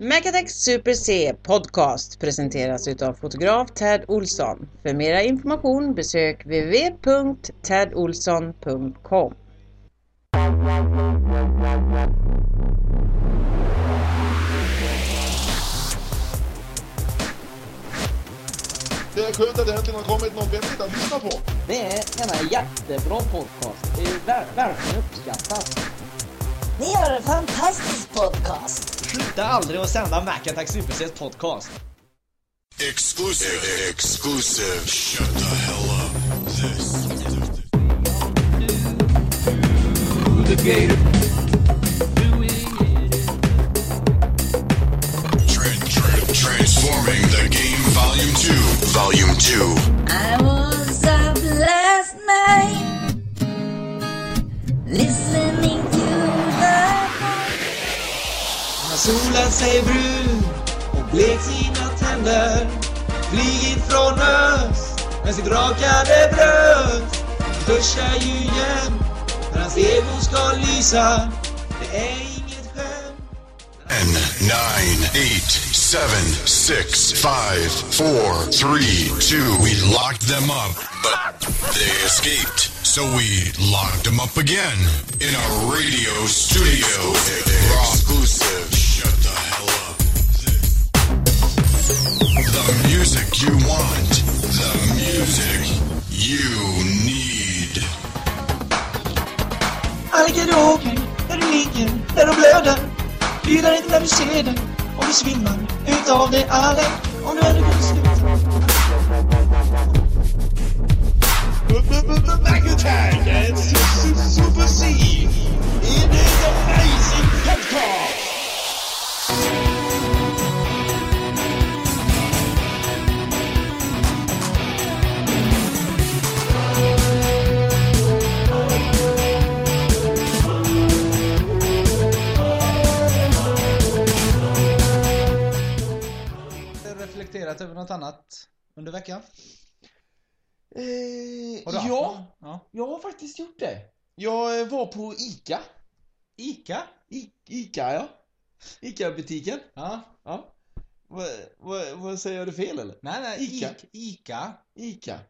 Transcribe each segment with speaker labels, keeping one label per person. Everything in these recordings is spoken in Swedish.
Speaker 1: Megatech Super C Podcast presenteras utav fotograf Ted Olsson. För mera information besök www.tedolsson.com.
Speaker 2: Det är skönt att det äntligen har kommit något vettigt att lyssna på.
Speaker 3: Det är en jättebra podcast. Det är ver- verkligen uppskattat.
Speaker 4: Ni har en fantastisk podcast.
Speaker 3: Sluta aldrig att sända Mac Attack Supersets podcast.
Speaker 5: Exclusive. Exclusive. Shut the hell up. This. Tran- tran- Transforming the game, volume two. Volume two.
Speaker 4: I was up last night listening to the
Speaker 3: Han solat sig brun och blekt sina tänder. Flygit från öst med sitt rakade bröst. Duschar ju igen när hans ego ska lysa. Det är inget skämt.
Speaker 5: Ten, nine, eight, seven, six, five, four, three, two. We locked them up, but they escaped. So we locked them up again in a radio studio. Exclusive. Shut the hell up. The music you want. The music you need.
Speaker 3: Alla garderober, där du ligger, där du blöder. Bjuder inte när du ser den. Och du svimmar utav det alla. Om du ändå kunde sluta.
Speaker 2: Magatag and Super C. It is amazing podcast.
Speaker 6: reflekterat över något annat under veckan? Har du haft någon?
Speaker 3: Eh, ja,
Speaker 6: ja.
Speaker 3: jag har faktiskt gjort det. Jag eh, var på ICA.
Speaker 6: Ica?
Speaker 3: I, ICA, ja. ICA-butiken.
Speaker 6: Ja.
Speaker 3: Ja. Vad vad- vad säger jag du fel eller?
Speaker 6: Nej, nej.
Speaker 3: Ica.
Speaker 6: Ica. Ica.
Speaker 3: ICA.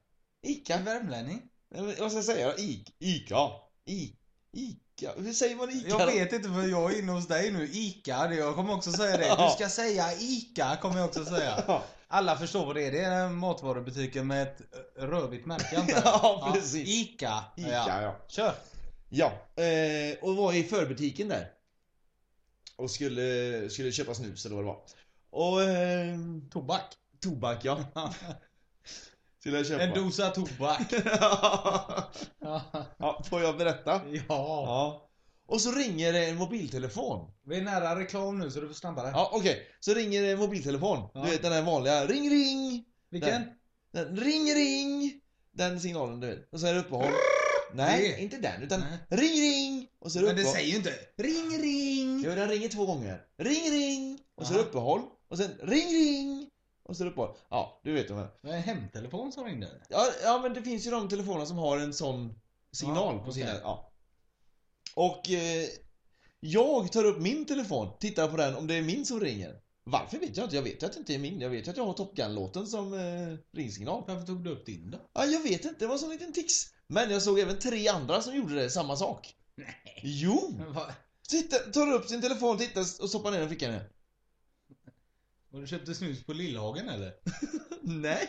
Speaker 6: En
Speaker 3: ICA.
Speaker 6: värmlänning.
Speaker 3: Nej, men Vad ska jag säga då? I, ICA. I, ICA. Hur säger man ICA?
Speaker 6: Jag
Speaker 3: då?
Speaker 6: vet inte för jag är inne hos dig nu. Ica. det- Jag kommer också säga det.
Speaker 3: Ja.
Speaker 6: Du ska säga Ica kommer jag också säga.
Speaker 3: Ja,
Speaker 6: Alla förstår vad det är. Det är en matvarubutiken med ett eh, rödvitt märke antar jag.
Speaker 3: ja, precis.
Speaker 6: Ica.
Speaker 3: ICA, ja.
Speaker 6: Kör.
Speaker 3: Ja, eh, och var i förbutiken där. Och skulle, skulle köpa snus eller vad det var. Och eh,
Speaker 6: Tobak.
Speaker 3: tobak ja. Skulle jag köpa.
Speaker 6: En dosa tobak.
Speaker 3: ja, får jag berätta?
Speaker 6: ja.
Speaker 3: Ja. Och så ringer det en mobiltelefon.
Speaker 6: Vi är nära reklam nu så du får snabbare.
Speaker 3: Ja, okej. Så ringer det en mobiltelefon.
Speaker 6: Ja.
Speaker 3: Du vet den där vanliga. Ring, ring!
Speaker 6: Vilken?
Speaker 3: Den, ring, ring! Den signalen du vet. Och så är det uppehåll. Nej,
Speaker 6: Det-
Speaker 3: inte den. Utan
Speaker 6: Nej.
Speaker 3: ring, ring! Och så är det
Speaker 6: Men
Speaker 3: uppehåll.
Speaker 6: det säger ju inte ring ring.
Speaker 3: Jo, den ringer två gånger. Ring, ring! Och så är
Speaker 6: Aha.
Speaker 3: det uppehåll. Och sen ring, ring! Och så är det uppehåll. Ja, du vet vad jag menar.
Speaker 6: Det var en hemtelefon som ringde.
Speaker 3: Ja, ja, men det finns ju de telefonerna som har en sån signal
Speaker 6: Ja,
Speaker 3: på sina...
Speaker 6: okej.
Speaker 3: Ja. Och eh, jag tar upp min telefon, tittar på den om det är min som ringer. Varför vet jag inte. Jag vet ju att det inte är min. Jag vet ju att jag har Top Gun-låten som eh, ringsignal.
Speaker 6: Varför tog du upp din då?
Speaker 3: Ja, jag vet inte. Det var en sån liten tics. Men jag såg även tre andra som gjorde det, samma sak.
Speaker 6: Nej.
Speaker 3: Jo!
Speaker 6: Vad?
Speaker 3: Titta, tar upp sin telefon, tittar och stoppar ner den i fickan igen.
Speaker 6: Har du köpte snus på Lillhagen eller?
Speaker 3: Nej!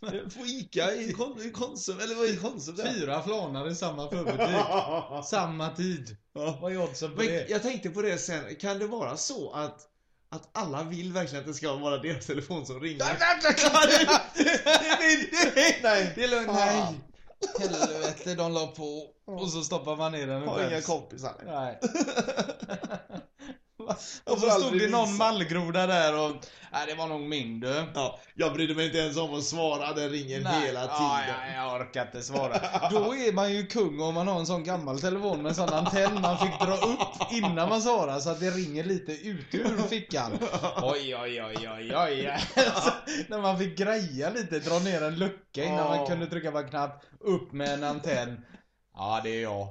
Speaker 3: På Eh, Ica i kon- i Konsum, eller vad är Konsum? där?
Speaker 6: Fyra flanar i samma förbutik. samma tid. Vad är oddsen på
Speaker 3: Men
Speaker 6: det?
Speaker 3: jag tänkte på det sen, kan det vara så att, att alla vill verkligen att det ska vara deras telefon som ringer? Nej,
Speaker 6: Det är lugnt.
Speaker 3: Fan.
Speaker 6: Nej. Helvete, de la på. Och så stoppar man ner den. och
Speaker 3: Har inga
Speaker 6: skäms.
Speaker 3: kompisar.
Speaker 6: Nej.
Speaker 3: Jag
Speaker 6: och
Speaker 3: får
Speaker 6: så stod
Speaker 3: aldrig
Speaker 6: det någon
Speaker 3: visa.
Speaker 6: mallgroda där och... Nej, det var nog min du.
Speaker 3: Ja, jag brydde mig inte ens om att svara, den ringer hela tiden.
Speaker 6: Ja, ja, jag orkar inte svara. Då är man ju kung om man har en sån gammal telefon med en sån antenn man fick dra upp innan man svarar så att det ringer lite ut ur fickan. Oj, oj, oj, oj, oj. Alltså, när man fick greja lite, dra ner en lucka innan man kunde trycka på en knapp, upp med en antenn. Ja, det är jag.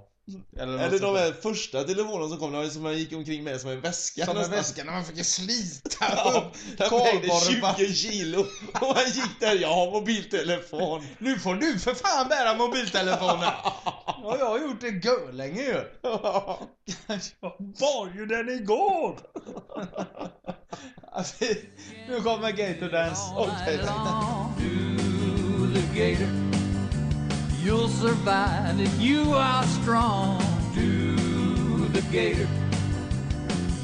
Speaker 3: Eller,
Speaker 2: Eller de
Speaker 3: sånt där.
Speaker 2: här första telefonerna som kom, det var ju som man gick omkring med som en väska
Speaker 3: Som en
Speaker 2: nästan.
Speaker 3: väska när man fick slita
Speaker 2: Ja,
Speaker 3: upp
Speaker 2: den vägde
Speaker 3: kardborren.
Speaker 2: 20 kilo och han gick där, jag har mobiltelefon.
Speaker 3: Nu får du för fan bära mobiltelefonen! Ja, jag har gjort det gör länge ju. Jag var ju den igår! Alltså, nu kommer Gator Dance.
Speaker 2: Okej.
Speaker 6: to the gator. You'll survive if you are strong. Do the gator.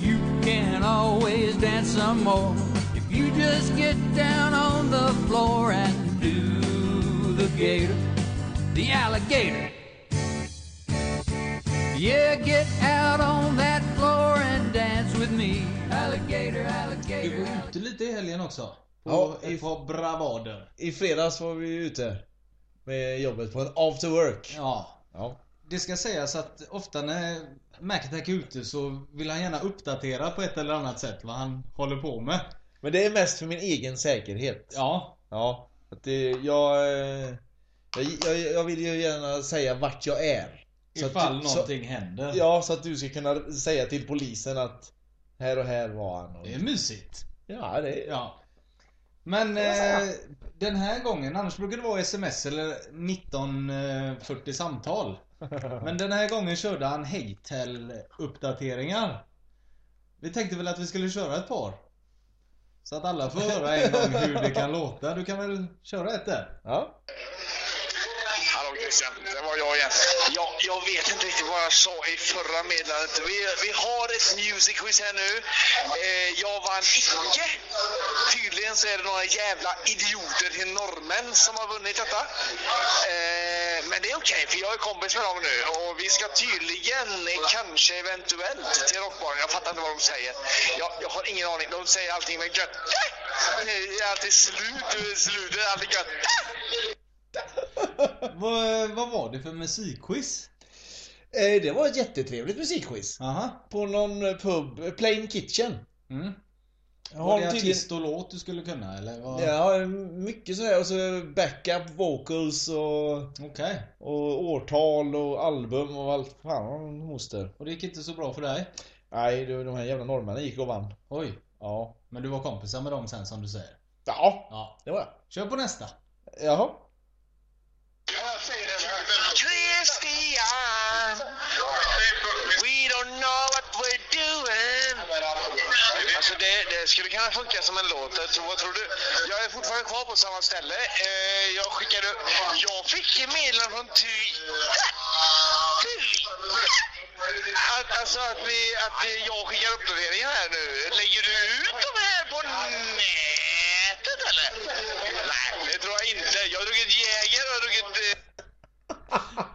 Speaker 6: You can always dance some more if you just get down on the floor and do the gator. The alligator. Yeah, get out on that floor and dance with me. Alligator,
Speaker 3: Du
Speaker 6: alligator.
Speaker 3: går ute lite i helgen också.
Speaker 2: Ja,
Speaker 3: På ett par bravader.
Speaker 2: I fredags var vi ju ute med jobbet på en after work.
Speaker 3: Ja.
Speaker 2: Ja.
Speaker 3: Det ska sägas att ofta när Macattack är ute så vill han gärna uppdatera på ett eller annat sätt vad han håller på med.
Speaker 2: Men det är mest för min egen säkerhet.
Speaker 3: Ja.
Speaker 2: Ja, att det, jag, eh, jag, jag, jag vill ju gärna säga vart jag är. Så att
Speaker 3: Ifall
Speaker 2: du- så-
Speaker 3: någonting händer.
Speaker 2: Ja, så att du ska kunna säga till polisen att här och här var han. Och,
Speaker 3: Det är mysigt.
Speaker 2: ja, det är...
Speaker 3: Ja. Men eh, den här gången, annars brukar det vara sms eller 1940 samtal. Men den här gången körde han Heytel uppdateringar. Vi tänkte väl att vi skulle köra ett par. Så att alla får höra en gång hur det kan låta. Du kan väl köra ett där?
Speaker 2: Ja.
Speaker 7: Hallå Christian, det var jag igen. Jag, jag vet inte riktigt vad jag sa i förra meddelandet. Vi, vi har ett music quiz här nu. Eh, jag vann icke. Tydligen så är det några jävla idioter till norrmän som har vunnit detta. Eh, men det är okej, för jag är kompis med dem nu. Och vi ska tydligen, eh, kanske eventuellt, till Rockbaren. Jag fattar inte vad de säger. Jag, jag har ingen aning. De säger allting med gött. Det är alltid slut, det är slut, det är alltid gött.
Speaker 3: Vad, Eh, vad var det för musikquiz?
Speaker 2: Eh, Det var ett jättetrevligt musikquiz.
Speaker 3: Aha.
Speaker 2: På någon eh, pub, eh, Plain Kitchen.
Speaker 3: Mm.
Speaker 2: Jag
Speaker 3: Var
Speaker 2: har
Speaker 3: det
Speaker 2: tydligen-
Speaker 3: artist och låt du skulle kunna eller? Vad...
Speaker 2: Ja, mycket sådär och så backup vocals och,
Speaker 3: Okej.
Speaker 2: och årtal och album och allt fan moster.
Speaker 3: Och det gick inte så bra för dig?
Speaker 2: Nej, du, de här jävla norrmännen gick och vann.
Speaker 3: Oj.
Speaker 2: Ja.
Speaker 3: Men du var kompisar med dem sen som du säger?
Speaker 2: Ja,
Speaker 3: Ja.
Speaker 2: det var jag.
Speaker 3: Kör på nästa.
Speaker 2: Jaha.
Speaker 7: Christian, we don't know what we're doing. Alltså det, det skulle kunna funka som en låt. Alltså, vad tror du? Jag är fortfarande kvar på samma ställe. Eh, jag skickade... Jag fick en meddelande från Ty... Ty- Att, alltså att, vi, att vi, jag skickar uppdateringar här nu. Lägger du ut de här på nätet eller? Nej, det tror jag inte. Jag har druckit Jäger och jag har druckit... Eh,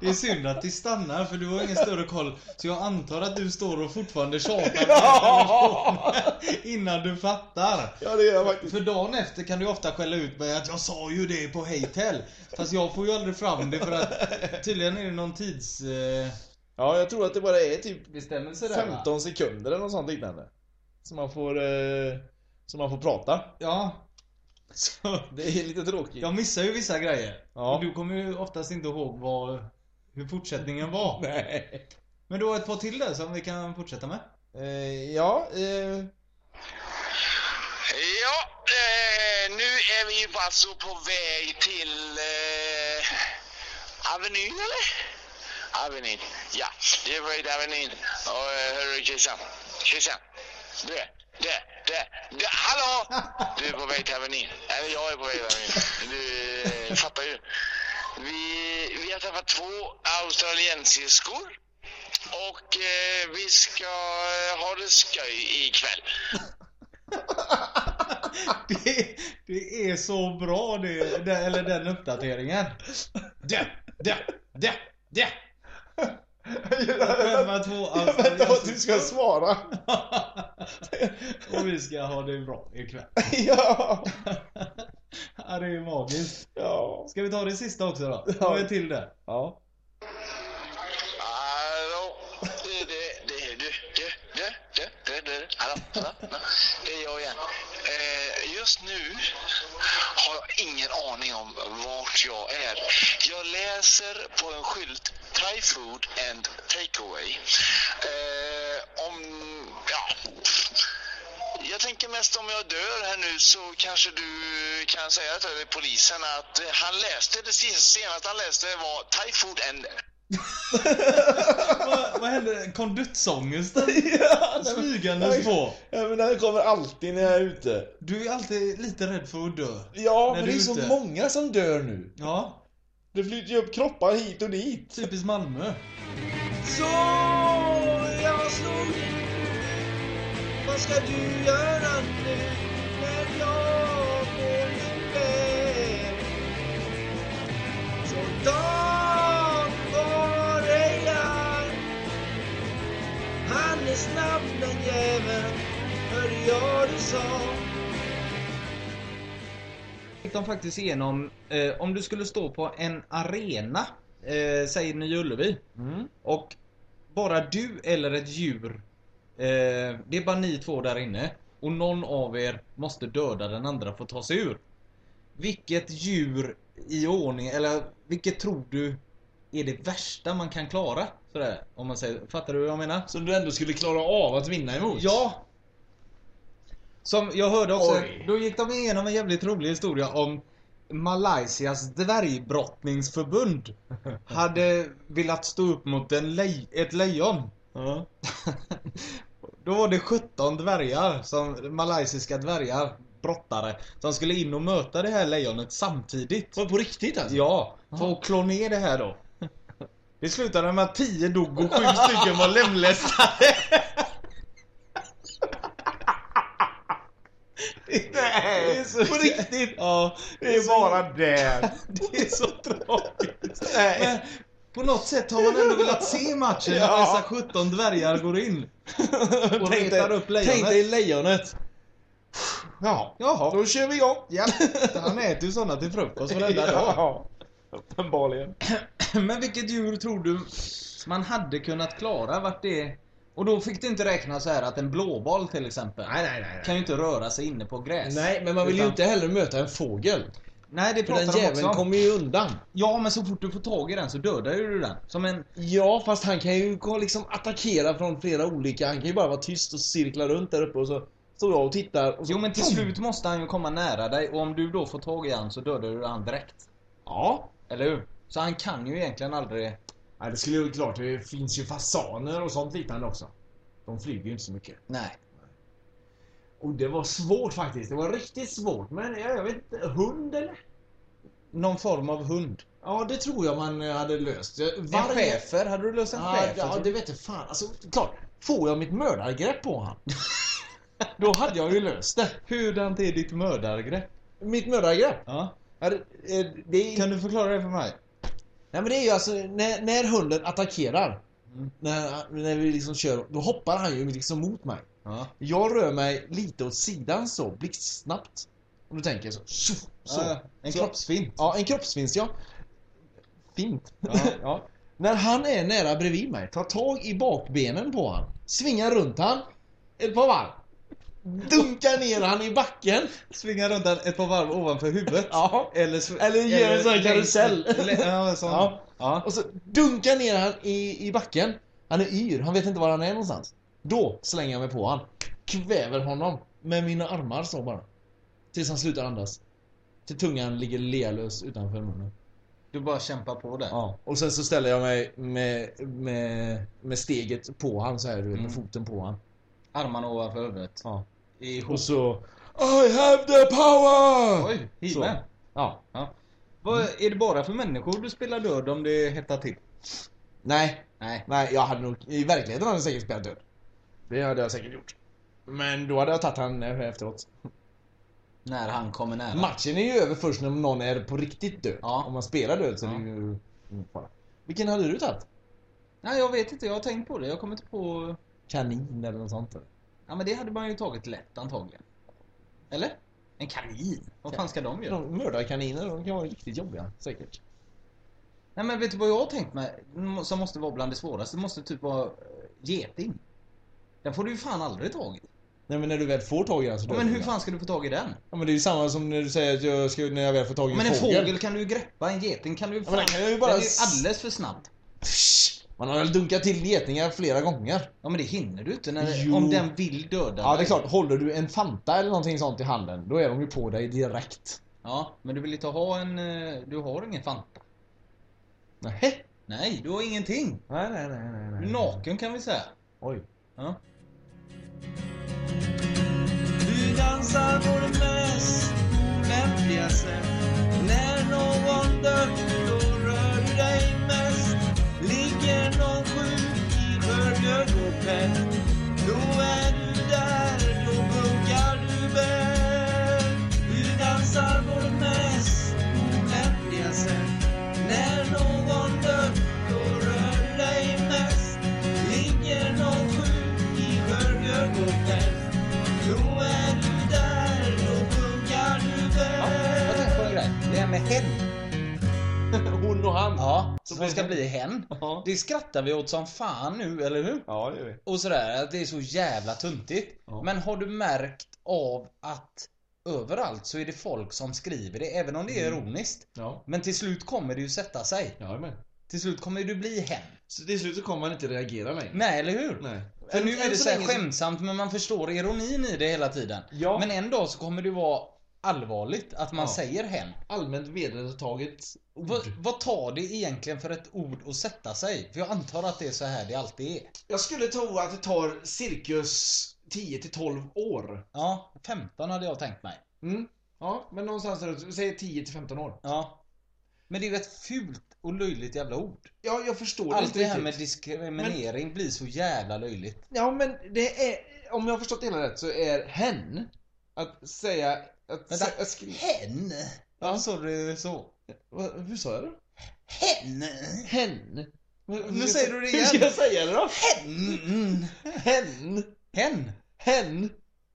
Speaker 3: Det är synd att det stannar för du har ingen större koll. Så jag antar att du står och fortfarande tjatar
Speaker 2: Ja!
Speaker 3: med innan du fattar.
Speaker 2: Ja, det gör jag faktiskt.
Speaker 3: För dagen efter kan du ofta skälla ut mig att jag sa ju det på Heytel. Fast jag får ju aldrig fram det för att tydligen är det någon tidsbestämmelse
Speaker 2: Ja, jag tror att det bara är typ
Speaker 3: eh, där va?
Speaker 2: 15 sekunder eller något sånt liknande. Som man får, eh, som man får prata.
Speaker 3: Ja. Så,
Speaker 2: Det är lite tråkigt.
Speaker 3: jag missar ju vissa grejer.
Speaker 2: Ja.
Speaker 3: Och du kommer ju oftast inte ihåg vad, hur fortsättningen var.
Speaker 2: Nej.
Speaker 3: Men du har ett par till där som vi kan fortsätta med.
Speaker 2: Eh, ja, eh,
Speaker 7: Ja, eh, nu är vi ju alltså på väg till eh, Avenyn, eller? Avenyn, ja. Det var ju till Avenyn. Och eh, hörru Christian, Christian. Du, du, du, du, hallå! Du är på väg till Avenyn. Eller jag är på väg till Avenyn. Du eh, fattar ju. Vi, vi har träffat två australiensiskor. Och eh, vi ska eh, ha det skoj ikväll.
Speaker 3: Det, det är så bra det, det, eller den uppdateringen. Det, det, det, det. Vem är två
Speaker 2: jag väntar på att du ska svara.
Speaker 3: Och vi ska ha det bra ikväll.
Speaker 2: ja.
Speaker 3: Ja, det är magiskt.
Speaker 2: Ja.
Speaker 3: Ska vi ta det sista också då? Ta en till där.
Speaker 2: Ja.
Speaker 7: Hallå! Det, det, det, du, du, du, du, du, du, hallå, hallå, hallå. Det är jag igen. Eh, just just nu har jag ingen aning om vart jag är. Jag läser på en skylt Thai food and takeaway. Eh, om, ja. Jag tänker mest om jag dör här nu så kanske du kan säga till polisen att eh, han läste, det sista- senaste han läste var Thai food and
Speaker 6: vad, vad hände? Kondutsångesten
Speaker 3: Ja, nej, men-
Speaker 6: smygandes på.
Speaker 3: Ja, men den kommer alltid när jag är ute.
Speaker 6: Du är alltid lite rädd för att dö.
Speaker 3: Ja,
Speaker 6: När
Speaker 3: men
Speaker 6: du
Speaker 3: det
Speaker 6: är
Speaker 3: är så
Speaker 6: ute.
Speaker 3: många som dör nu.
Speaker 6: Ja,
Speaker 3: Det flyter ju upp kroppar hit och dit.
Speaker 6: typiskt Malmö.
Speaker 8: Så jag slog in. Vad ska du göra nu när jag går iväg? Så Dan var Ejan. Han är snabb den jäveln, hörde jag du sa.
Speaker 6: gick de faktiskt igenom, eh, om du skulle stå på en arena, eh, säger Nya Ullevi. Och bara du eller ett djur, eh, det är bara ni två där inne. Och någon av er måste döda den andra för att ta sig ur. Vilket djur i ordning, eller vilket tror du är det värsta man kan klara? Sådär, om man säger, fattar du vad jag menar?
Speaker 3: Som du ändå skulle klara av att vinna emot.
Speaker 6: Ja! Som jag hörde också,
Speaker 3: Oj.
Speaker 6: då gick de igenom en jävligt rolig historia om Malaysias dvärgbrottningsförbund hade velat stå upp mot en lej- ett lejon.
Speaker 3: Ja.
Speaker 6: Då var det 17 dvärgar, som, malaysiska dvärgar, brottare, som skulle in och möta det här lejonet samtidigt.
Speaker 3: Var det på riktigt alltså?
Speaker 6: Ja, för att klå ner det här då. Det slutade med att 10 dog och 7 stycken var lemlästade. Det är så... På riktigt!
Speaker 3: Ja, det är bara där.
Speaker 6: Det är så tragiskt. Men på något sätt har man ändå velat se matchen när
Speaker 3: Ja.
Speaker 6: dessa 17 dvärgar går in. Och
Speaker 3: Tänk
Speaker 6: retar
Speaker 3: dig-
Speaker 6: upp lejonet.
Speaker 3: Tänk dig lejonet. Ja,
Speaker 6: Jaha.
Speaker 3: då kör vi igång.
Speaker 6: Ja, han äter ju såna till frukost varenda dag.
Speaker 3: Ja, uppenbarligen.
Speaker 6: Men vilket djur tror du man hade kunnat klara? Vart det... Och då fick du inte räkna så här att en blåboll till exempel
Speaker 3: Nej, nej, nej.
Speaker 6: kan ju inte röra sig inne på gräs.
Speaker 3: Nej, men man vill ju
Speaker 6: Utan-
Speaker 3: inte heller möta en fågel.
Speaker 6: Nej, det
Speaker 3: För den
Speaker 6: pratar de också
Speaker 3: jäveln
Speaker 6: om.
Speaker 3: kommer ju undan.
Speaker 6: Ja, men så fort du får tag i den så dödar ju du den. Som en...
Speaker 3: Ja, fast han kan ju gå- liksom attackera från flera olika. Han kan ju bara vara tyst och cirkla runt där uppe och så står jag och tittar. Och så...
Speaker 6: Jo, men till slut måste han ju komma nära dig och om du då får tag i han så dödar du han direkt.
Speaker 3: Ja.
Speaker 6: Eller hur? Så han kan ju egentligen aldrig...
Speaker 3: Nej, det skulle ju klart. Det finns ju fasaner och sånt liknande också. De flyger ju inte så mycket.
Speaker 6: Nej.
Speaker 3: Och det var svårt faktiskt. Det var riktigt svårt. Men jag, jag vet inte. Hund eller?
Speaker 6: Någon form av hund.
Speaker 3: Ja, det tror jag man eh, hade löst. Jag-
Speaker 6: En schäfer? Hade du löst en
Speaker 3: Ja,
Speaker 6: schäfer?
Speaker 3: Ah, ja
Speaker 6: tror
Speaker 3: det
Speaker 6: du?
Speaker 3: vet jag fan. Alltså, klart. Får jag mitt mördargrepp på han? Då hade jag ju löst det.
Speaker 6: Hurdant är ditt mördargrepp?
Speaker 3: Mitt mördargrepp?
Speaker 6: Ja.
Speaker 3: Ja, det, eh, det är...
Speaker 6: Kan du förklara det för mig?
Speaker 3: Nej men det är ju alltså när, när hunden attackerar.
Speaker 6: Mm.
Speaker 3: När, när vi liksom kör, då hoppar han ju liksom mot mig.
Speaker 6: Ja.
Speaker 3: Jag rör mig lite åt sidan så, blixtsnabbt. Om du tänker så. tjoff, så.
Speaker 6: Ja, Eh, en
Speaker 3: så.
Speaker 6: kroppsfint.
Speaker 3: Ja, en kroppsvinst ja. Fint.
Speaker 6: Ja, ja.
Speaker 3: När han är nära bredvid mig, tar tag i bakbenen på han. Svingar runt han. eh, Ett par varv. Dunkar ner han i backen.
Speaker 6: Svinga runt den ett par varv ovanför huvudet.
Speaker 3: Ja.
Speaker 6: Eller, sv-
Speaker 3: Eller gör en sån här
Speaker 6: längs-
Speaker 3: karusell.
Speaker 6: Eller- Ja, sån.
Speaker 3: Ja.
Speaker 6: Ja. ja.
Speaker 3: Och så dunkar ner han i, i backen. Han är yr, han vet inte var han är någonstans. Då slänger jag mig på han. Kväver honom med mina armar så bara. Tills han slutar andas. Till tungan ligger lealös utanför munnen.
Speaker 6: Du bara kämpar på där.
Speaker 3: Ja. Och sen så ställer jag mig med, med, med steget på han så här, du vet, med
Speaker 6: Mm.
Speaker 3: foten på han.
Speaker 6: Armarna ovanför huvudet.
Speaker 3: Ja.
Speaker 6: I
Speaker 3: Och så... I have the power!
Speaker 6: Oj,
Speaker 3: Så.
Speaker 6: himmel.
Speaker 3: Ja.
Speaker 6: Vad Är det bara för människor du spelar död om det hettar till?
Speaker 3: Nej,
Speaker 6: Nej.
Speaker 3: nej, jag hade nog... I verkligheten hade jag säkert spelat död. Det hade jag säkert gjort. Men då hade jag tagit han eh, efteråt.
Speaker 6: När han kommer nära.
Speaker 3: Matchen är ju över först när någon är på riktigt död.
Speaker 6: Ja.
Speaker 3: Om man spelar död så
Speaker 6: Ja.
Speaker 3: är det ju ingen fara. Vilken hade du tagit?
Speaker 6: Nej, jag vet inte. Jag har tänkt på det. Jag kommer inte på...
Speaker 3: Kanin eller något sånt? eller?
Speaker 6: Ja, men det hade man ju tagit lätt antagligen. Eller? En kanin? Vad fan ska de göra?
Speaker 3: De mördarkaniner, de kan vara riktigt jobbiga säkert.
Speaker 6: Nej, men vet du vad jag har tänkt mig? Mm, Som måste vara bland det svåraste. Det måste typ vara eh, geting. Den får du ju fan aldrig tag i.
Speaker 3: Nej men när du väl får tag i den så
Speaker 6: Ja,
Speaker 3: dör
Speaker 6: men hur
Speaker 3: den.
Speaker 6: fan ska du få tag i den?
Speaker 3: Ja men det är ju samma som när du säger att jag ska, när jag väl får tag i
Speaker 6: Men en fågel kan du ju greppa, en geting kan du ju
Speaker 3: Ja, men den
Speaker 6: fan-
Speaker 3: kan ju bara
Speaker 6: Den är ju
Speaker 3: s-
Speaker 6: alldeles för snabb.
Speaker 3: Man har väl dunkat till getingar flera gånger?
Speaker 6: Ja men det hinner du inte när,
Speaker 3: Jo.
Speaker 6: om den vill döda
Speaker 3: Ja det är
Speaker 6: dig.
Speaker 3: klart, håller du en Fanta eller någonting sånt i handen, då är de ju på dig direkt.
Speaker 6: Ja, men du vill inte ha en... eh, Du har ingen Fanta.
Speaker 3: Nej.
Speaker 6: Nej, du har ingenting.
Speaker 3: Nej, nej, nej, nej.
Speaker 6: Du är naken kan vi säga.
Speaker 3: Oj.
Speaker 6: Ja.
Speaker 8: Du dansar på det mest lämpliga sätt När någon dör, då rör du dig mest Ligger någon sjuk i burger och pest Då är du där, då bunkar du bäst Du dansar på det mest olämpliga sätt När någon dör, då rör du dig mest Ligger någon sjuk i burger och pest då är du där, då funkar du
Speaker 6: Jag
Speaker 8: väl.
Speaker 6: tänkte på en grej. Det här med hen.
Speaker 3: Hon och han.
Speaker 6: Ja, som det ska bli hen.
Speaker 3: Ja.
Speaker 6: Det skrattar vi åt som fan nu, eller hur?
Speaker 3: Ja, det gör vi.
Speaker 6: Och sådär, att det är så jävla tuntigt.
Speaker 3: Ja.
Speaker 6: Men har du märkt av att överallt så är det folk som skriver det, även om det är ironiskt.
Speaker 3: Ja.
Speaker 6: Men till slut kommer det ju sätta sig.
Speaker 3: Jag är med.
Speaker 6: Till slut kommer du bli hen.
Speaker 3: Så till slut så kommer man inte reagera längre.
Speaker 6: Nej, eller hur?
Speaker 3: Nej.
Speaker 6: Mm. För nu är det så här
Speaker 3: länge
Speaker 6: skämtsamt men man förstår ironin i det hela tiden.
Speaker 3: Ja.
Speaker 6: Men en dag så kommer det vara allvarligt att man
Speaker 3: Ja.
Speaker 6: säger hen.
Speaker 3: Allmänt vedertaget ord.
Speaker 6: Vad, vad tar det egentligen för ett ord att sätta sig? För jag antar att det är så här det alltid är.
Speaker 3: Jag skulle tro att det tar cirkus 10 till 12 år.
Speaker 6: Ja, 15 hade jag tänkt mig.
Speaker 3: Mm. Ja, men någonstans runt, säg 10 till 15 år.
Speaker 6: Ja. Men det är ju ett fult och löjligt jävla ord.
Speaker 3: Ja, jag förstår
Speaker 6: Allt det här med
Speaker 3: riktigt.
Speaker 6: diskriminering blir så jävla löjligt.
Speaker 3: Ja, men det är... Om jag har förstått det hela rätt så är
Speaker 6: Mm.
Speaker 3: hen att säga... Att,
Speaker 6: Vänta.
Speaker 3: sä- att skri-
Speaker 6: Hen!
Speaker 3: Ja.
Speaker 6: Sa du så?
Speaker 3: Vad- Hur sa jag det?
Speaker 6: Hen!
Speaker 3: Hen.
Speaker 6: Nu säger du det igen.
Speaker 3: Hur ska jag säga det då?
Speaker 6: Hen!
Speaker 3: Hen.
Speaker 6: Hen!
Speaker 3: Hen.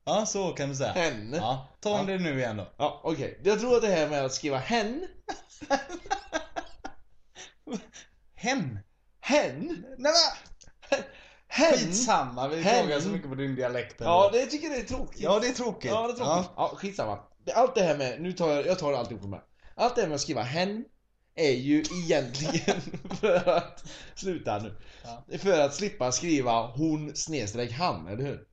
Speaker 6: Ja, så kan du säga.
Speaker 3: Hen. Ja,
Speaker 6: Ja, ta om det nu igen då.
Speaker 3: okej. Jag tror att det här med att skriva hen.
Speaker 6: Hen!
Speaker 3: Hen.
Speaker 6: Nej
Speaker 3: Hen.
Speaker 6: Skitsamma, vi
Speaker 3: Hen.
Speaker 6: klagar så mycket på din dialekt ändå.
Speaker 3: Ja, det jag tycker det är tråkigt.
Speaker 6: ja, det är tråkigt.
Speaker 3: Ja, det är tråkigt. Ja, skitsamma. Det- Allt det här med, nu tar jag, jag tar alltihop med. Allt det här med att skriva hen är ju egentligen för att, sluta nu. För att slippa skriva hon snedstreck han, eller hur?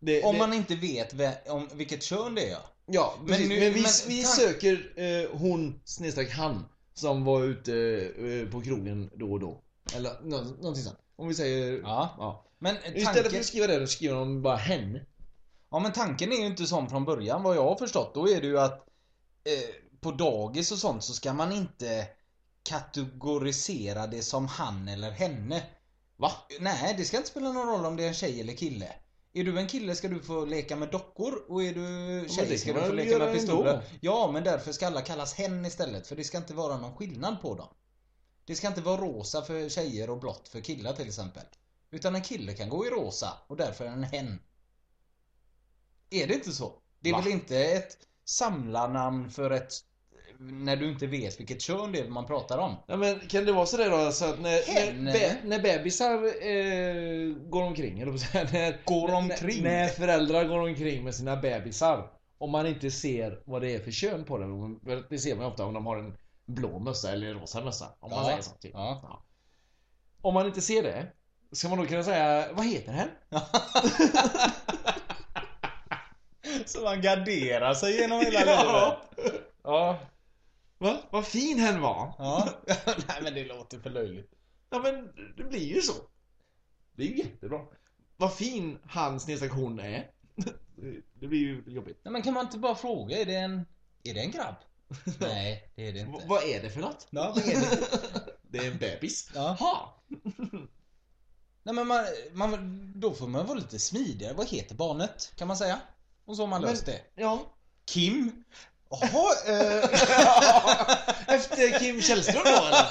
Speaker 3: Det-
Speaker 6: Ja. Om
Speaker 3: det-
Speaker 6: man inte vet ve- om vilket kön det är.
Speaker 3: Ja,
Speaker 6: Men
Speaker 3: men, precis.
Speaker 6: nu-
Speaker 3: men vi,
Speaker 6: men
Speaker 3: vi
Speaker 6: tan-
Speaker 3: söker eh, hon snedstreck han som var ute eh, på krogen då och då. Eller nå- någonting sånt. Om vi säger...
Speaker 6: Ja.
Speaker 3: ja.
Speaker 6: Men
Speaker 3: Istället för
Speaker 6: tanken,
Speaker 3: att skriva det, då skriver de bara hen.
Speaker 6: ja, men tanken är ju inte sån från början vad jag har förstått. Då är det ju att eh, på dagis och sånt så ska man inte kategorisera det som han eller henne.
Speaker 3: Va?
Speaker 6: Nej, det ska inte spela någon roll om det är en tjej eller kille. Är du en kille ska du få leka med dockor och är du tjej
Speaker 3: det
Speaker 6: ska
Speaker 3: kan
Speaker 6: du få
Speaker 3: man
Speaker 6: leka
Speaker 3: göra
Speaker 6: med pistoler.
Speaker 3: ändå.
Speaker 6: Ja, men därför ska alla kallas hen istället för det ska inte vara någon skillnad på dem. Det ska inte vara rosa för tjejer och blått för killar till exempel. Utan en kille kan gå i rosa och därför är en hen. Är det inte så? Det är
Speaker 3: Va?
Speaker 6: väl inte ett samlarnamn för ett... När du inte vet vilket kön det är man pratar om?
Speaker 3: Ja, men kan det vara sådär då alltså att när,
Speaker 6: Henne?
Speaker 3: när, be, när bebisar eh, går omkring, eller på att säga, när,
Speaker 6: Går omkring?
Speaker 3: När, när föräldrar går omkring med sina bebisar och man inte ser vad det är för kön på dem. för Det ser man ju ofta om de har en blå mössa eller en rosa mössa. Om man
Speaker 6: Ja.
Speaker 3: säger så. Typ.
Speaker 6: Ja.
Speaker 3: Om man inte ser det, ska man då kunna säga vad heter den?
Speaker 6: Så man garderar sig genom hela livet?
Speaker 3: ja. Va? Vad fin hen var.
Speaker 6: Ja. Nej men det låter för löjligt.
Speaker 3: Ja men det blir ju så. Det är ju jättebra. Vad fin han snedstreck hon är. Det blir ju jobbigt.
Speaker 6: Nej men kan man inte bara fråga, är det en... Är det en grabb? Nej, det är det
Speaker 3: V-
Speaker 6: inte.
Speaker 3: vad är det för något?
Speaker 6: Ja, vad är det?
Speaker 3: Det är en bebis.
Speaker 6: Ja.
Speaker 3: Ha.
Speaker 6: Nej men man, man, då får man vara lite smidigare. Vad heter barnet? Kan man säga. Och så har man
Speaker 3: Men-
Speaker 6: löst det.
Speaker 3: Ja.
Speaker 6: Kim? Jaha, eh...
Speaker 3: Efter Kim Källström då eller?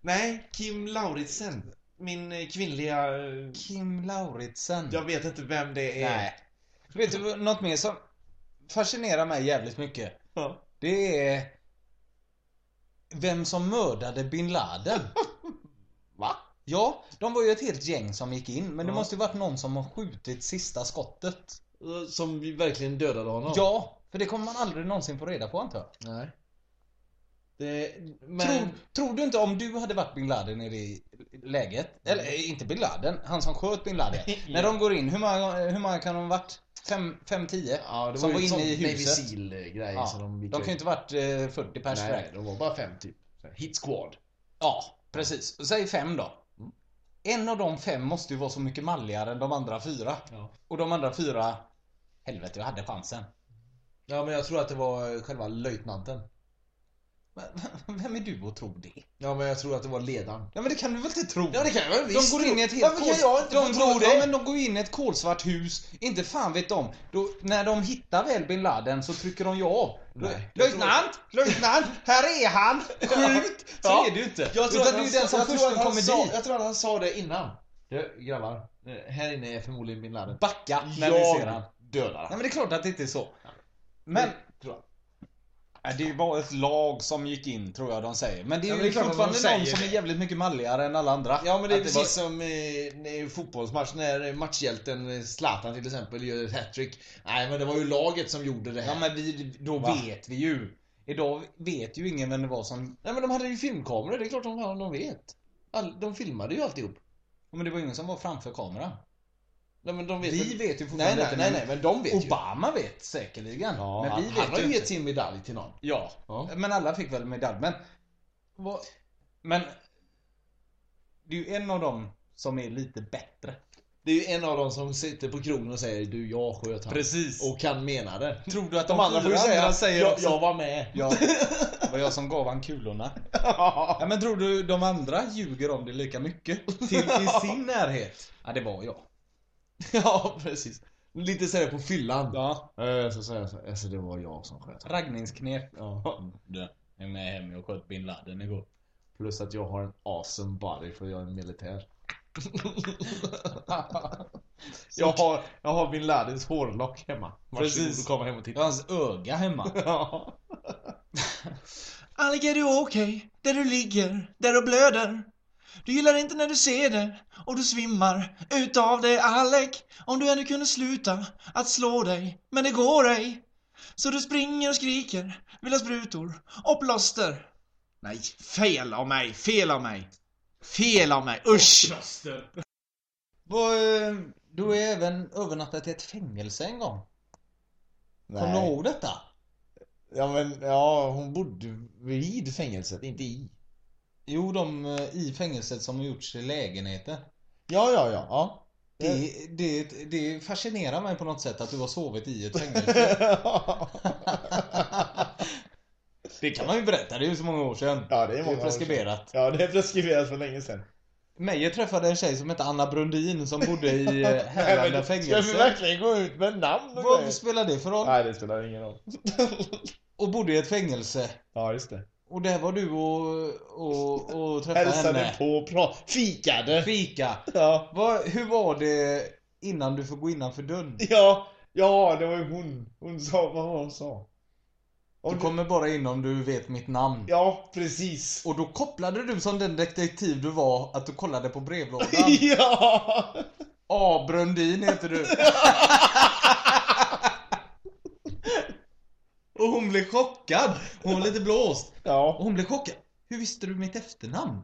Speaker 3: Nej, Kim Lauritsen. Min eh, kvinnliga... eh,
Speaker 6: Kim Lauritsen.
Speaker 3: Jag vet inte vem det är.
Speaker 6: Nej. Vet du vad- något mer som fascinerar mig jävligt mycket?
Speaker 3: Ja.
Speaker 6: Det är... Vem som mördade bin Laden?
Speaker 3: Va?
Speaker 6: Ja, de var ju ett helt gäng som gick in. Men det måste ju varit någon som har skjutit sista skottet.
Speaker 3: Eh, Som vi verkligen dödade honom.
Speaker 6: Ja, för det kommer man aldrig någonsin få reda på antar jag.
Speaker 3: Nej. Det, men...
Speaker 6: Tror, tror du inte om du hade varit bin Laden i det läget?
Speaker 3: Mm.
Speaker 6: Eller eh, inte bin Laden, han som sköt bin Laden. När de går in, hur många, eh, hur många kan de ha varit? Fem, fem, tio?
Speaker 3: Ja, det
Speaker 6: som
Speaker 3: var
Speaker 6: var
Speaker 3: ju
Speaker 6: inne
Speaker 3: en
Speaker 6: i
Speaker 3: sån Navy
Speaker 6: huset.
Speaker 3: Seal-grej.
Speaker 6: Ja,
Speaker 3: så de,
Speaker 6: de kan ju inte ha varit eh, 40 pers
Speaker 3: Nej,
Speaker 6: direkt.
Speaker 3: de var bara fem typ. Så här, Hit squad.
Speaker 6: Ja, precis. Säg fem då. En av de fem måste ju vara så mycket malligare än de andra fyra.
Speaker 3: Ja.
Speaker 6: Och de andra fyra... Helvete, jag hade chansen.
Speaker 3: Ja, men jag tror att det var eh, själva löjtnanten.
Speaker 6: Men, Vem är du och tror det?
Speaker 3: Ja, men jag tror att det var ledaren.
Speaker 6: Ja men det kan du väl inte tro?
Speaker 3: Ja, det kan jag väl
Speaker 6: De
Speaker 3: visst
Speaker 6: går
Speaker 3: tro.
Speaker 6: in i ett helt
Speaker 3: Varför kan
Speaker 6: kols...
Speaker 3: jag inte
Speaker 6: de
Speaker 3: få
Speaker 6: går,
Speaker 3: tro det?
Speaker 6: Ja, men de går in i ett kolsvart hus. Inte fan vet de. Då, när de hittar väl bin Laden så trycker de ja.
Speaker 3: Nej.
Speaker 6: Löjtnant! Löjtnant! Här är han! Skjut! Så
Speaker 3: Ja.
Speaker 6: är det ju inte.
Speaker 3: Jag tror
Speaker 6: Utan
Speaker 3: att
Speaker 6: det är
Speaker 3: han
Speaker 6: ju den som
Speaker 3: sa- jag
Speaker 6: först
Speaker 3: tror att han
Speaker 6: kommer
Speaker 3: sa-
Speaker 6: dit.
Speaker 3: Jag tror att han sa det innan. Du, grabbar. eh, Här inne är förmodligen bin Laden.
Speaker 6: Backa när vi ser han.
Speaker 3: dödar
Speaker 6: Nej men
Speaker 3: han.
Speaker 6: det är klart att det inte är så. Men...
Speaker 3: tror jag.
Speaker 6: Nej, Det var ett lag som gick in tror jag de säger. Men det är
Speaker 3: Ja,
Speaker 6: ju
Speaker 3: men det är klart att de
Speaker 6: fortfarande någon
Speaker 3: säger
Speaker 6: som är
Speaker 3: det.
Speaker 6: jävligt mycket malligare än alla andra.
Speaker 3: Ja men det är
Speaker 6: Att
Speaker 3: precis
Speaker 6: var-
Speaker 3: som eh, i en fotbollsmatch när matchhjälten eh, Zlatan till exempel gör ett hattrick. Nej men det var ju laget som gjorde det här.
Speaker 6: Ja men vi, då
Speaker 3: Va?
Speaker 6: vet vi ju. Idag vet ju ingen vem det var som...
Speaker 3: Nej men de hade ju filmkameror, det är klart de, fan de vet. All, de filmade ju alltihop.
Speaker 6: Ja, Men det var ingen som var framför kameran.
Speaker 3: Nej, men de vet
Speaker 6: Vi
Speaker 3: väl-
Speaker 6: vet ju
Speaker 3: nej,
Speaker 6: fortfarande
Speaker 3: nej,
Speaker 6: inte,
Speaker 3: nej
Speaker 6: men
Speaker 3: nej men de vet ju.
Speaker 6: Obama vet säkerligen.
Speaker 3: Ja,
Speaker 6: men vi
Speaker 3: han,
Speaker 6: vet
Speaker 3: han har ju
Speaker 6: ju
Speaker 3: gett
Speaker 6: inte.
Speaker 3: sin medalj till någon.
Speaker 6: Ja.
Speaker 3: Ja.
Speaker 6: Men alla fick väl medalj. Men... Men... Det är ju en av dem som är lite bättre.
Speaker 3: Det är ju en av dem som sitter på krogen och säger du jag sköt han.
Speaker 6: Precis. Och
Speaker 3: Och han menar det.
Speaker 6: tror du att
Speaker 3: De andra får ju
Speaker 6: fyra
Speaker 3: säga jag,
Speaker 6: också-
Speaker 3: jag var med.
Speaker 6: Ja, det var jag som gav han kulorna. Ja, men tror du de andra ljuger om det lika mycket? Till i sin närhet? Ja, det var jag.
Speaker 3: ja precis. Lite sådär på fyllan.
Speaker 6: Ja.
Speaker 3: Eh, Så säger jag så här, alltså det var jag som sköt han.
Speaker 6: Raggningsknep.
Speaker 3: Ja.
Speaker 6: Du, jag är med hem, jag sköt bin Laden igår.
Speaker 3: Plus att jag har en awesome body för jag är militär. jag, har, jag har min Ladens hårlock hemma. Varsågod
Speaker 6: Precis.
Speaker 3: och kom hem och
Speaker 6: Jag
Speaker 3: titta.
Speaker 6: har hans öga hemma.
Speaker 3: Ja.
Speaker 8: Allt är du okej, där du ligger, där du blöder. Du gillar inte när du ser det och du svimmar utav det Alec. Om du ännu kunde sluta att slå dig, men det går ej. Så du springer och skriker, vill ha sprutor och plåster. Nej, fel av mig, fel av mig. Fel av mig, usch!
Speaker 6: Vad, eh, Du har ju även övernattat i ett fängelse en gång. Kommer du ihåg detta?
Speaker 3: Ja men ja, hon bodde vid fängelset, inte i.
Speaker 6: Jo, de eh, i fängelset som har gjorts till lägenheter.
Speaker 3: Ja, ja, ja. ja.
Speaker 6: Det, det, det fascinerar mig på något sätt att du har sovit i ett fängelse. Det kan man ju berätta, det är ju så många år sedan.
Speaker 3: Ja, det är många år
Speaker 6: preskriberat.
Speaker 3: ja, det är preskriberat för länge sedan.
Speaker 6: Meijer träffade en tjej som hette Anna Brundin som bodde i eh,
Speaker 3: Nej,
Speaker 6: Härlanda
Speaker 3: men
Speaker 6: fängelse.
Speaker 3: Ska vi verkligen gå ut med namn och
Speaker 6: Vad
Speaker 3: grejer?
Speaker 6: spelar det för roll?
Speaker 3: Nej, det spelar ingen roll.
Speaker 6: Och bodde i ett fängelse.
Speaker 3: Ja, just det.
Speaker 6: Och där var du och, och, och träffade
Speaker 3: Hälsade
Speaker 6: henne.
Speaker 3: på och pra- fikade.
Speaker 6: Fika.
Speaker 3: Ja.
Speaker 6: Vad, hur var det innan du får gå innanför dörren?
Speaker 3: Ja, ja, det var ju hon. Hon sa, vad var hon sa? Om
Speaker 6: Du
Speaker 3: du-
Speaker 6: kommer bara in om du vet mitt namn.
Speaker 3: Ja, precis.
Speaker 6: Och då kopplade du som den detektiv du var att du kollade på brevlådan.
Speaker 3: Ja!
Speaker 6: A. Brundin heter du. Och hon blev chockad. Hon var lite blåst. Och
Speaker 3: Ja,
Speaker 6: hon blev chockad. Hur visste du mitt efternamn?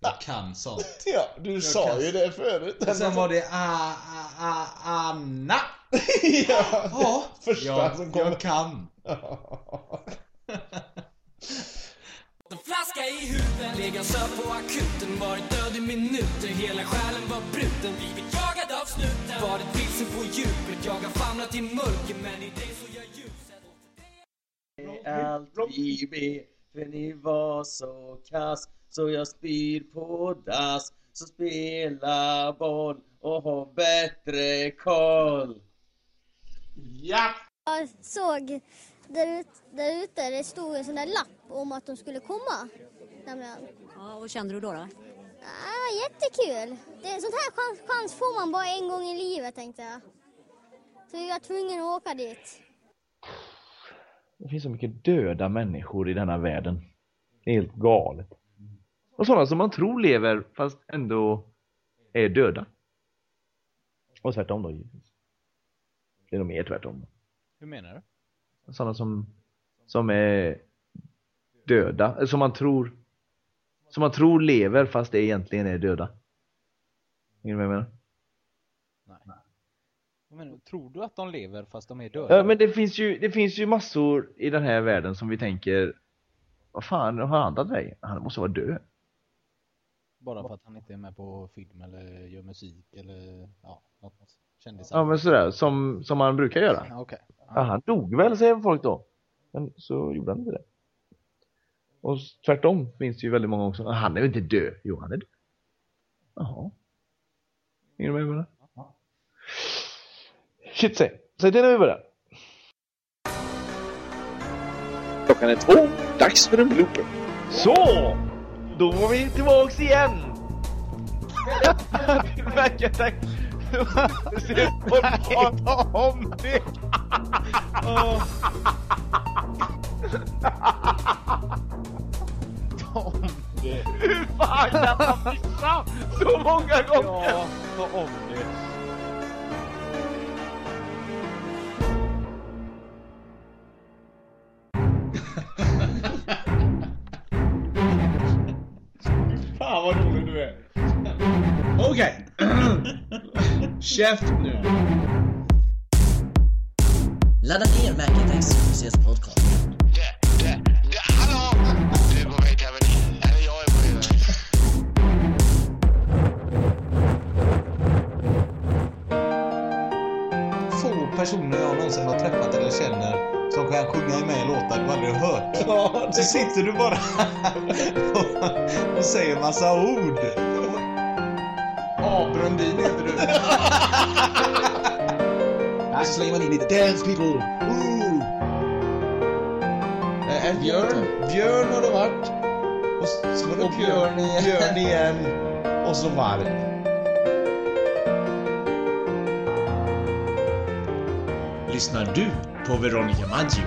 Speaker 6: Jag kan sånt.
Speaker 3: ja du sa
Speaker 6: kan-
Speaker 3: ju det förut.
Speaker 6: Och sen var det a, a, a, Anna.
Speaker 3: ja,
Speaker 6: Ja,
Speaker 3: första
Speaker 6: jag,
Speaker 3: som kommer.
Speaker 6: jag kan.
Speaker 9: En flaska i huden, legat söt på akuten Varit död i minuter, hela själen var bruten Blivit jagad av snuten, varit vilsen på djupet Jag har famlat i mörker, men i dig såg jag ljuset
Speaker 10: allt vi ber För ni var så kass Så jag spyr på dass Så spela boll och ha bättre koll
Speaker 4: Jag såg där ute, där ute det stod en sån där lapp om att de skulle komma. Nämligen.
Speaker 9: Ja, vad kände du då? då?
Speaker 4: Ah, jättekul! Det är en sån här chans, chans får man bara en gång i livet tänkte jag. Så jag var tvungen att åka dit.
Speaker 2: Det finns så mycket döda människor i denna världen. Det är helt galet. Och sådana som man tror lever fast ändå är döda. Och tvärtom då givetvis. Det är nog mer tvärtom.
Speaker 3: Hur menar du?
Speaker 2: Sådana som, som är döda, eh, som man tror som man tror lever fast det egentligen är döda. Hänger du med vad jag menar?
Speaker 11: Men, tror du att de lever fast de är döda?
Speaker 2: Ja, men det finns, ju, det finns ju massor i den här världen som vi tänker Vad fan har han tagit vägen? Han måste vara död.
Speaker 11: Bara för att han inte är med på film eller gör musik eller ja, något kändisar.
Speaker 2: Ja men sådär, som, som man brukar göra.
Speaker 11: Ja, okej.
Speaker 2: Ja, han dog väl säger folk då. Men så gjorde han inte det. Och s- tvärtom finns det ju väldigt många också. Han är ju inte död. Jo, han är död. Jaha. Hänger du med vad jag menar? Shit säg. Säg det när vi börjar. Klockan är två. Dags för en blooper. Så! Då var vi tillbaks igen! det verkar tack. Du ser på om det! Hur fan kan man missa så många gånger? Ja, ta om det.
Speaker 3: Fan vad rolig du är. Okej. Käft nu.
Speaker 1: Ladda ner Macintex OCS podcast.
Speaker 3: Få personer jag någonsin har träffat eller känner som kan sjunga med i låtar du aldrig har hört. Så sitter du bara och, och säger massa ord. A. Brundin heter du. Här slänger man in lite dance people. Ooh. Eh, eh, Björn. Björn har det varit. Och, s- så var det Björn igen. Björn igen. Och så varg.
Speaker 6: Lyssnar du på Veronica Maggio?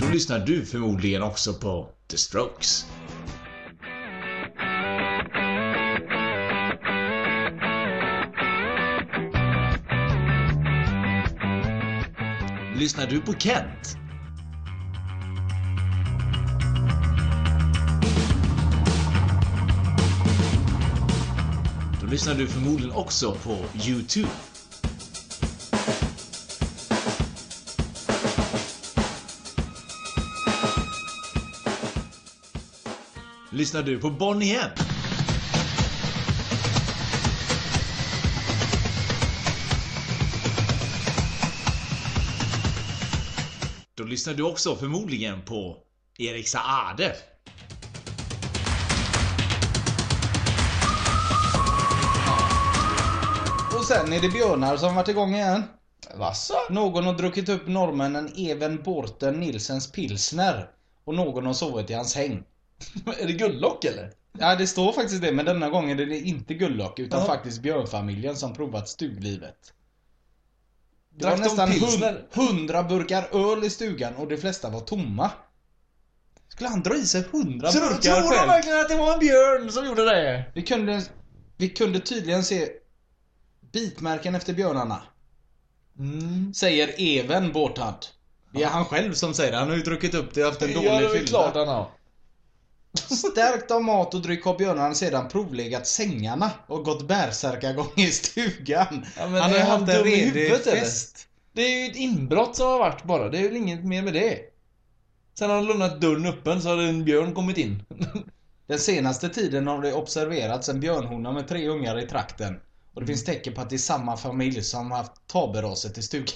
Speaker 6: Då lyssnar du förmodligen också på The Strokes. Lyssnar du på Kent? Då lyssnar du förmodligen också på YouTube. Lyssnar du på Bonnie M? Då lyssnar du också förmodligen på Erik Saade.
Speaker 3: Och sen är det björnar som varit igång igen. Vasså? Någon har druckit upp norrmännen Even Borten Nilsens pilsner. Och någon har sovit i hans häng. är det Gulllock eller? Ja det står faktiskt det, men denna gången är det inte Gulllock utan
Speaker 12: Ja.
Speaker 3: faktiskt björnfamiljen som provat stuglivet. Det
Speaker 12: Drack
Speaker 3: var
Speaker 12: de
Speaker 3: nästan
Speaker 12: pilsner?
Speaker 3: hun- hundra burkar öl i stugan och de flesta var tomma. Skulle han dra i sig hundra
Speaker 12: Så
Speaker 3: burkar
Speaker 12: tror de
Speaker 3: själv?
Speaker 12: verkligen att det var en björn som gjorde det?
Speaker 3: Vi kunde, vi kunde tydligen se bitmärken efter björnarna.
Speaker 12: Mm.
Speaker 3: Säger även Båtard. Det är han själv som säger det. Han har ju druckit upp det och haft en
Speaker 12: Ja,
Speaker 3: dålig
Speaker 12: det är
Speaker 3: fylla.
Speaker 12: klart han har.
Speaker 3: Stärkt av mat och dryck har björnarna sedan provlegat sängarna och gått bärsärkagång i stugan.
Speaker 12: men
Speaker 3: han har
Speaker 12: är
Speaker 3: ju
Speaker 12: han
Speaker 3: haft en
Speaker 12: dum i
Speaker 3: redig
Speaker 12: huvudet, eller?
Speaker 3: fest.
Speaker 12: Det är ju ett inbrott som har varit bara, det är väl inget mer med det.
Speaker 3: Sen har han lämnat dörren öppen så har en björn kommit in. Den senaste tiden har det observerats en björnhona med tre ungar i trakten. Och det finns tecken på att det är samma familj som har haft taberaset i stugan.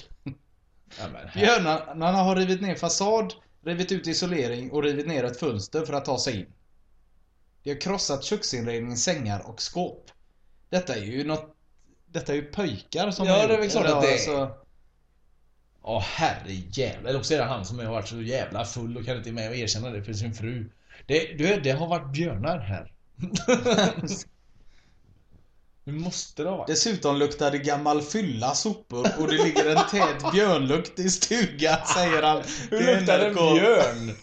Speaker 3: Björnarna har rivit ner fasad, rivit ut isolering och rivit ner ett fönster för att ta sig in. De har krossat köksinredning, sängar och skåp. Detta är ju något... Detta är ju pöjkar som
Speaker 12: Ja,
Speaker 3: har
Speaker 12: det är
Speaker 3: gjort
Speaker 12: väl klart att det är.
Speaker 3: alltså-
Speaker 12: Ja, herrejävlar. Eller också är det han som har varit så jävla full och kan inte med och erkänna det för sin fru. Det, du, vet, det har varit björnar här.
Speaker 6: Det måste det ha varit.
Speaker 3: Dessutom luktar det gammal fylla sopor och det ligger en tät björnlukt i stugan, säger han.
Speaker 6: Hur luktar det
Speaker 3: NRK.
Speaker 6: björn?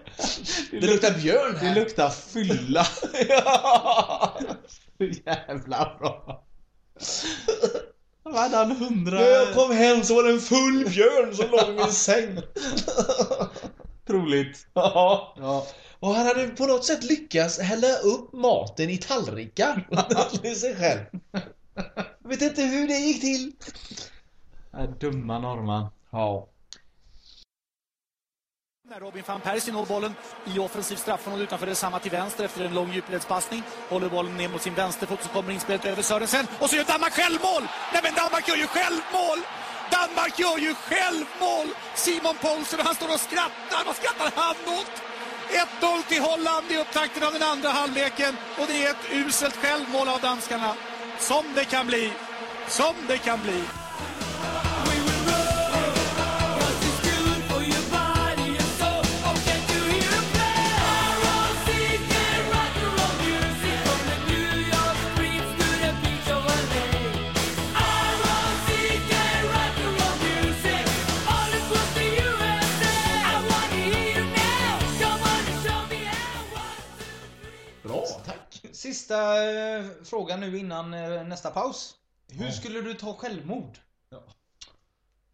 Speaker 6: Det luktar björn här.
Speaker 3: Det luktar fylla. Jävla bra. Vad hade han hundra...
Speaker 6: När jag kom hem så var det en full björn som låg i min säng. Troligt. Ja. Och han hade på något sätt lyckats hälla upp maten i tallrikar till sig själv. Jag vet inte hur det gick till.
Speaker 3: Äh, Dumma norrman. Ja.
Speaker 13: När Robin van Persie når bollen i offensiv straffområde utanför det samma till vänster efter en lång djupledspassning. Håller bollen ner mot sin vänsterfot så kommer inspelet över Sörensen. Och så gör Danmark självmål! Nej men Danmark gör ju självmål! Danmark gör ju självmål! Simon Poulsen han står och skrattar. Vad skrattar han åt? 1-0 till Holland i upptakten av den andra halvleken. Och det är ett uselt självmål av danskarna. Som det kan bli. Som det kan bli.
Speaker 6: Bra, tack.
Speaker 3: Sista eh, frågan nu innan eh, nästa paus. Hur skulle du ta självmord?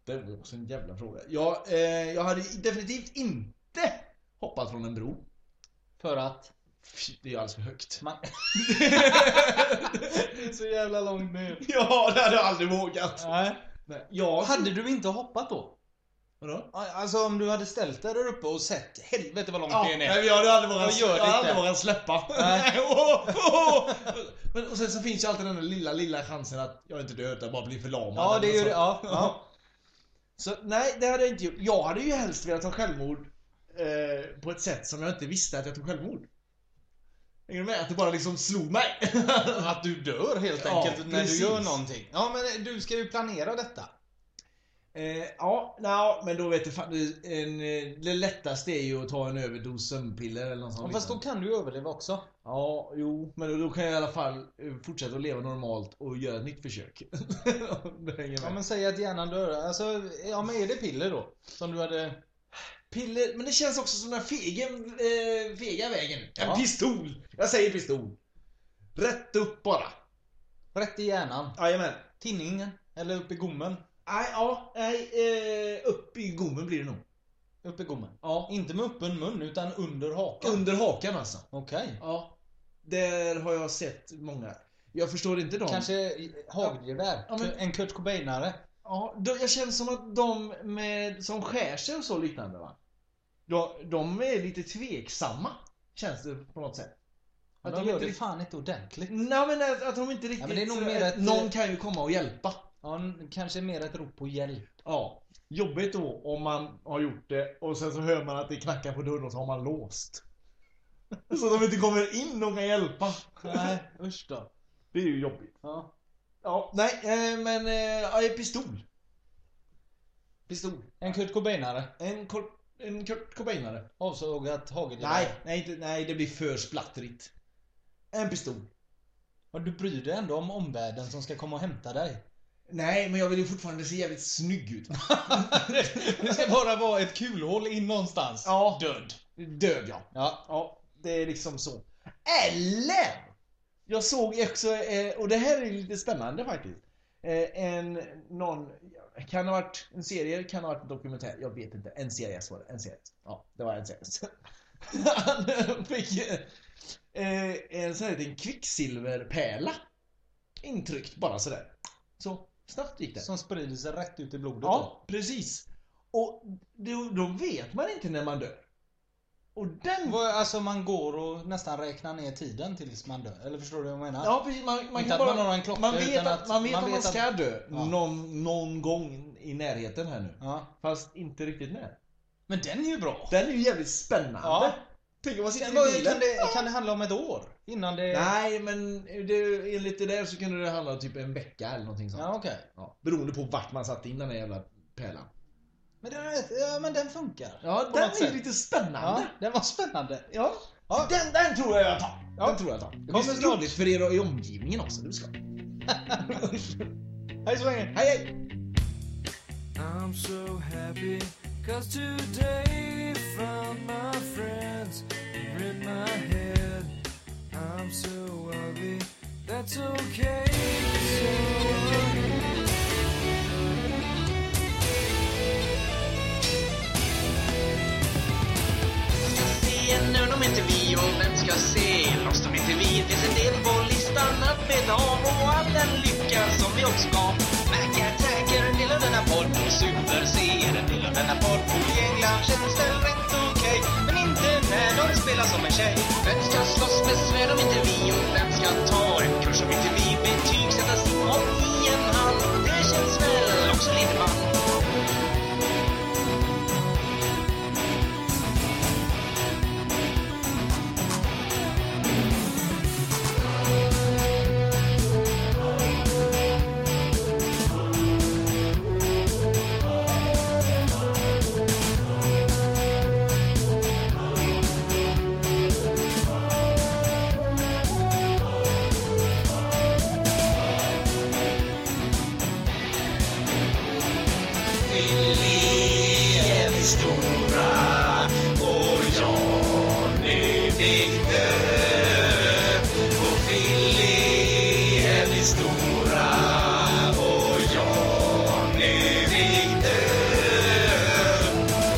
Speaker 6: Det var också en jävla fråga. Jag, eh, jag hade definitivt inte hoppat från en bro.
Speaker 3: För att?
Speaker 6: Fy, Det är ju alldeles för högt.
Speaker 3: Så jävla långt ner.
Speaker 6: Ja, det hade jag aldrig vågat.
Speaker 3: Nej.
Speaker 6: Jag...
Speaker 3: Hade du inte hoppat då?
Speaker 6: Vadå?
Speaker 3: Alltså om du hade ställt dig där uppe och sett helvete vad långt
Speaker 6: Ja,
Speaker 3: det är ner.
Speaker 6: nej, jag hade aldrig vågat,
Speaker 3: Jag
Speaker 6: jag
Speaker 3: gör det
Speaker 6: hade aldrig
Speaker 3: inte.
Speaker 6: vågat släppa.
Speaker 3: Nej.
Speaker 6: Åh, åh. Men, och sen så finns ju alltid den där lilla, lilla chansen att jag inte dör utan bara blir förlamad.
Speaker 3: Ja, det
Speaker 6: eller
Speaker 3: gör
Speaker 6: så.
Speaker 3: det. Ja, ja.
Speaker 6: Så nej, det hade jag inte gjort. Jag hade ju helst velat ta självmord eh, på ett sätt som jag inte visste att jag tog självmord. Hänger du med? Att det bara liksom slog mig.
Speaker 3: Att du dör helt
Speaker 6: Ja,
Speaker 3: enkelt när
Speaker 6: precis.
Speaker 3: du gör någonting. Ja men eh, du ska ju planera detta.
Speaker 6: Eh, ja, nej, men då vet du fan, en, eh, det lättaste är ju att ta en överdos sömnpiller eller något sånt.
Speaker 3: Ja, fast då kan du överleva också.
Speaker 6: Ja, jo, men då, då kan jag i alla fall eh, fortsätta att leva normalt och göra ett nytt försök. det hänger med.
Speaker 3: Ja men säg att hjärnan dör. Alltså, ja men är det piller då? Som du hade...
Speaker 6: Piller, men det känns också som den här fegen, eh, fega vägen. En pistol! Jag säger pistol. Rätt upp bara.
Speaker 3: Rätt i hjärnan?
Speaker 6: Jajamän.
Speaker 3: Tinningen? Eller upp i gommen?
Speaker 6: Nej, ja, nej, eh, upp i gommen blir det nog.
Speaker 3: Upp i gommen? Ja. Inte med öppen mun utan under hakan?
Speaker 6: Under hakan alltså.
Speaker 3: Okej.
Speaker 6: Ja. Där har jag sett många. Jag förstår inte dem.
Speaker 3: Kanske hagelgevär?
Speaker 6: Ja, men-
Speaker 3: En Kurt Cobainare?
Speaker 6: Ja, de, jag känner som att de med, som skär sig och så liknande va? De, de är lite tveksamma. Känns det på något sätt.
Speaker 3: Att
Speaker 6: Att
Speaker 3: de
Speaker 6: de
Speaker 3: gör
Speaker 6: inte
Speaker 3: det
Speaker 6: rikt-
Speaker 3: fan inte ordentligt.
Speaker 6: Nej men att, att de inte riktigt...
Speaker 3: Ja, men det är nog
Speaker 6: så-
Speaker 3: mer
Speaker 6: att
Speaker 3: ett-
Speaker 6: Någon kan ju komma och hjälpa.
Speaker 3: Ja, n- kanske mer ett rop på hjälp.
Speaker 6: Ja. Jobbigt då om man har gjort det och sen så hör man att det knackar på dörren och så har man låst. Så de inte kommer in och kan hjälpa.
Speaker 3: Nej, usch då.
Speaker 6: Det är ju jobbigt.
Speaker 3: Ja.
Speaker 6: Ja, nej eh, men... eh, Ja, eh, pistol. Pistol.
Speaker 3: En Kurt Cobainare?
Speaker 6: En, kor- en Kurt Cobainare.
Speaker 3: Avsågat hagelgevär?
Speaker 6: Nej, nej, inte- nej, det blir för splattrigt. En pistol.
Speaker 3: Och du bryr dig ändå om omvärlden som ska komma och hämta dig?
Speaker 6: Nej, men jag vill ju fortfarande se jävligt snygg ut.
Speaker 3: Det ska bara vara ett kulhål in någonstans.
Speaker 6: Ja.
Speaker 3: Död.
Speaker 6: Död ja.
Speaker 3: Ja.
Speaker 6: Ja, det är liksom så. Eller! Jag såg också, eh, och det här är lite spännande faktiskt. Eh, En, någon, kan ha varit en serie, kan ha varit en dokumentär, jag vet inte. En serie var det, en serie. Ja, det var en serie. Han fick eh, en sån här liten kvicksilverpärla. Intryckt bara sådär. Så snabbt gick det.
Speaker 3: Som sprider sig rätt ut i blodet då.
Speaker 6: Ja, precis. Och då, då vet man inte när man dör. Och den...
Speaker 3: Vad- Alltså man går och nästan räknar ner tiden tills man dör. Eller förstår du vad jag menar?
Speaker 6: Ja, precis. Man, man,
Speaker 3: Inte
Speaker 6: kan
Speaker 3: att
Speaker 6: bara,
Speaker 3: man har en klocka,
Speaker 6: man vet
Speaker 3: utan
Speaker 6: att,
Speaker 3: att
Speaker 6: man, vet
Speaker 3: man
Speaker 6: att man
Speaker 3: vet
Speaker 6: ska
Speaker 3: att-
Speaker 6: dö
Speaker 3: Ja.
Speaker 6: någon, någon gång i närheten här nu.
Speaker 3: Ja.
Speaker 6: Fast inte riktigt när.
Speaker 3: Men den är ju bra.
Speaker 6: Den är ju jävligt spännande.
Speaker 3: Ja.
Speaker 6: Tänk om man sitter
Speaker 3: Kan,
Speaker 6: i
Speaker 3: vad,
Speaker 6: bilen.
Speaker 3: kan, det, kan det handla om ett år? Innan det...
Speaker 6: Nej, men det, enligt det där så kunde det handla om typ en vecka eller någonting sånt.
Speaker 3: Ja, okej.
Speaker 6: Ja, beroende på vart man satte in den där jävla pärlan.
Speaker 14: Men den, är- ja, men den funkar.
Speaker 3: Ja,
Speaker 14: På
Speaker 3: den
Speaker 14: något
Speaker 3: är
Speaker 14: sätt.
Speaker 3: ju lite spännande.
Speaker 14: Ja, den var spännande. Ja.
Speaker 3: Den, den tror jag jag tar. Den tror jag jag tar. Det blir
Speaker 14: Kommer
Speaker 3: skadligt för er och i omgivningen också. Det blir skadligt.
Speaker 14: Hej så länge. Hej hej!
Speaker 15: I'm so happy cause today found my friends are in my head. I'm so ugly, that's okay.
Speaker 6: se nu de inte vi och vem ska se loss de inte vi Det finns en del på listan att beta av och all den lycka som vi också gav Mac Attack är en del av denna podd Super C är en del av denna podd I England känns det rätt okej Men inte när de spelar som en tjej Vem ska slåss med svärd om inte vi och vem ska ta en kurs om inte vi betygsätta sin hopp i en hand Det känns väl också lite man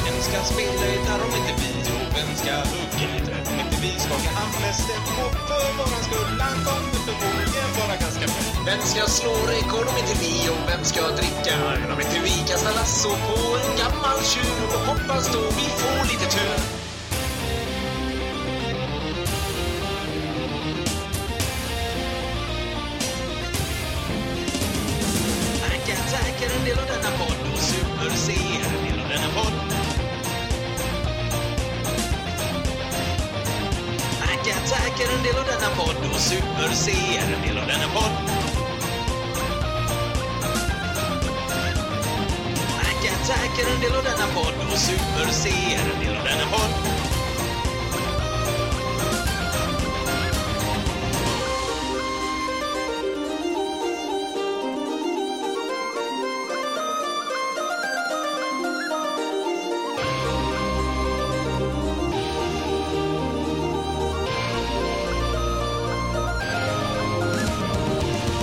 Speaker 6: Vem ska spela gitarr om inte vi? Och vem ska hugga lite om inte vi? Skaka hand med Steffo för våran skull. Han kommer förmodligen vara ganska bra. Vem ska slå rekord om inte vi? Och vem ska dricka öl om inte vi? Kasta lasso på en gammal tjur och hoppas då vi får lite tur. Mac Attack är en del av denna podd och Super C är en del av denna podd. Mac Attack är en del av denna podd och Super C är en del av denna podd. Mac Attack är en del av denna podd och Super C är en del av denna podd.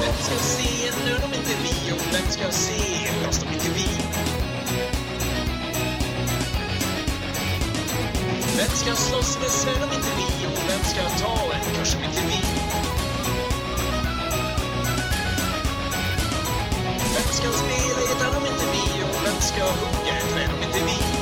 Speaker 6: Vem ska se nu om inte vi? Och vem ska se oss om inte vi? Vem ska slåss med svärd om inte vi? Och vem ska ta en kurs om inte vi? Vem ska spela gitarr om inte vi? Och vem ska hugga ett träd om inte vi?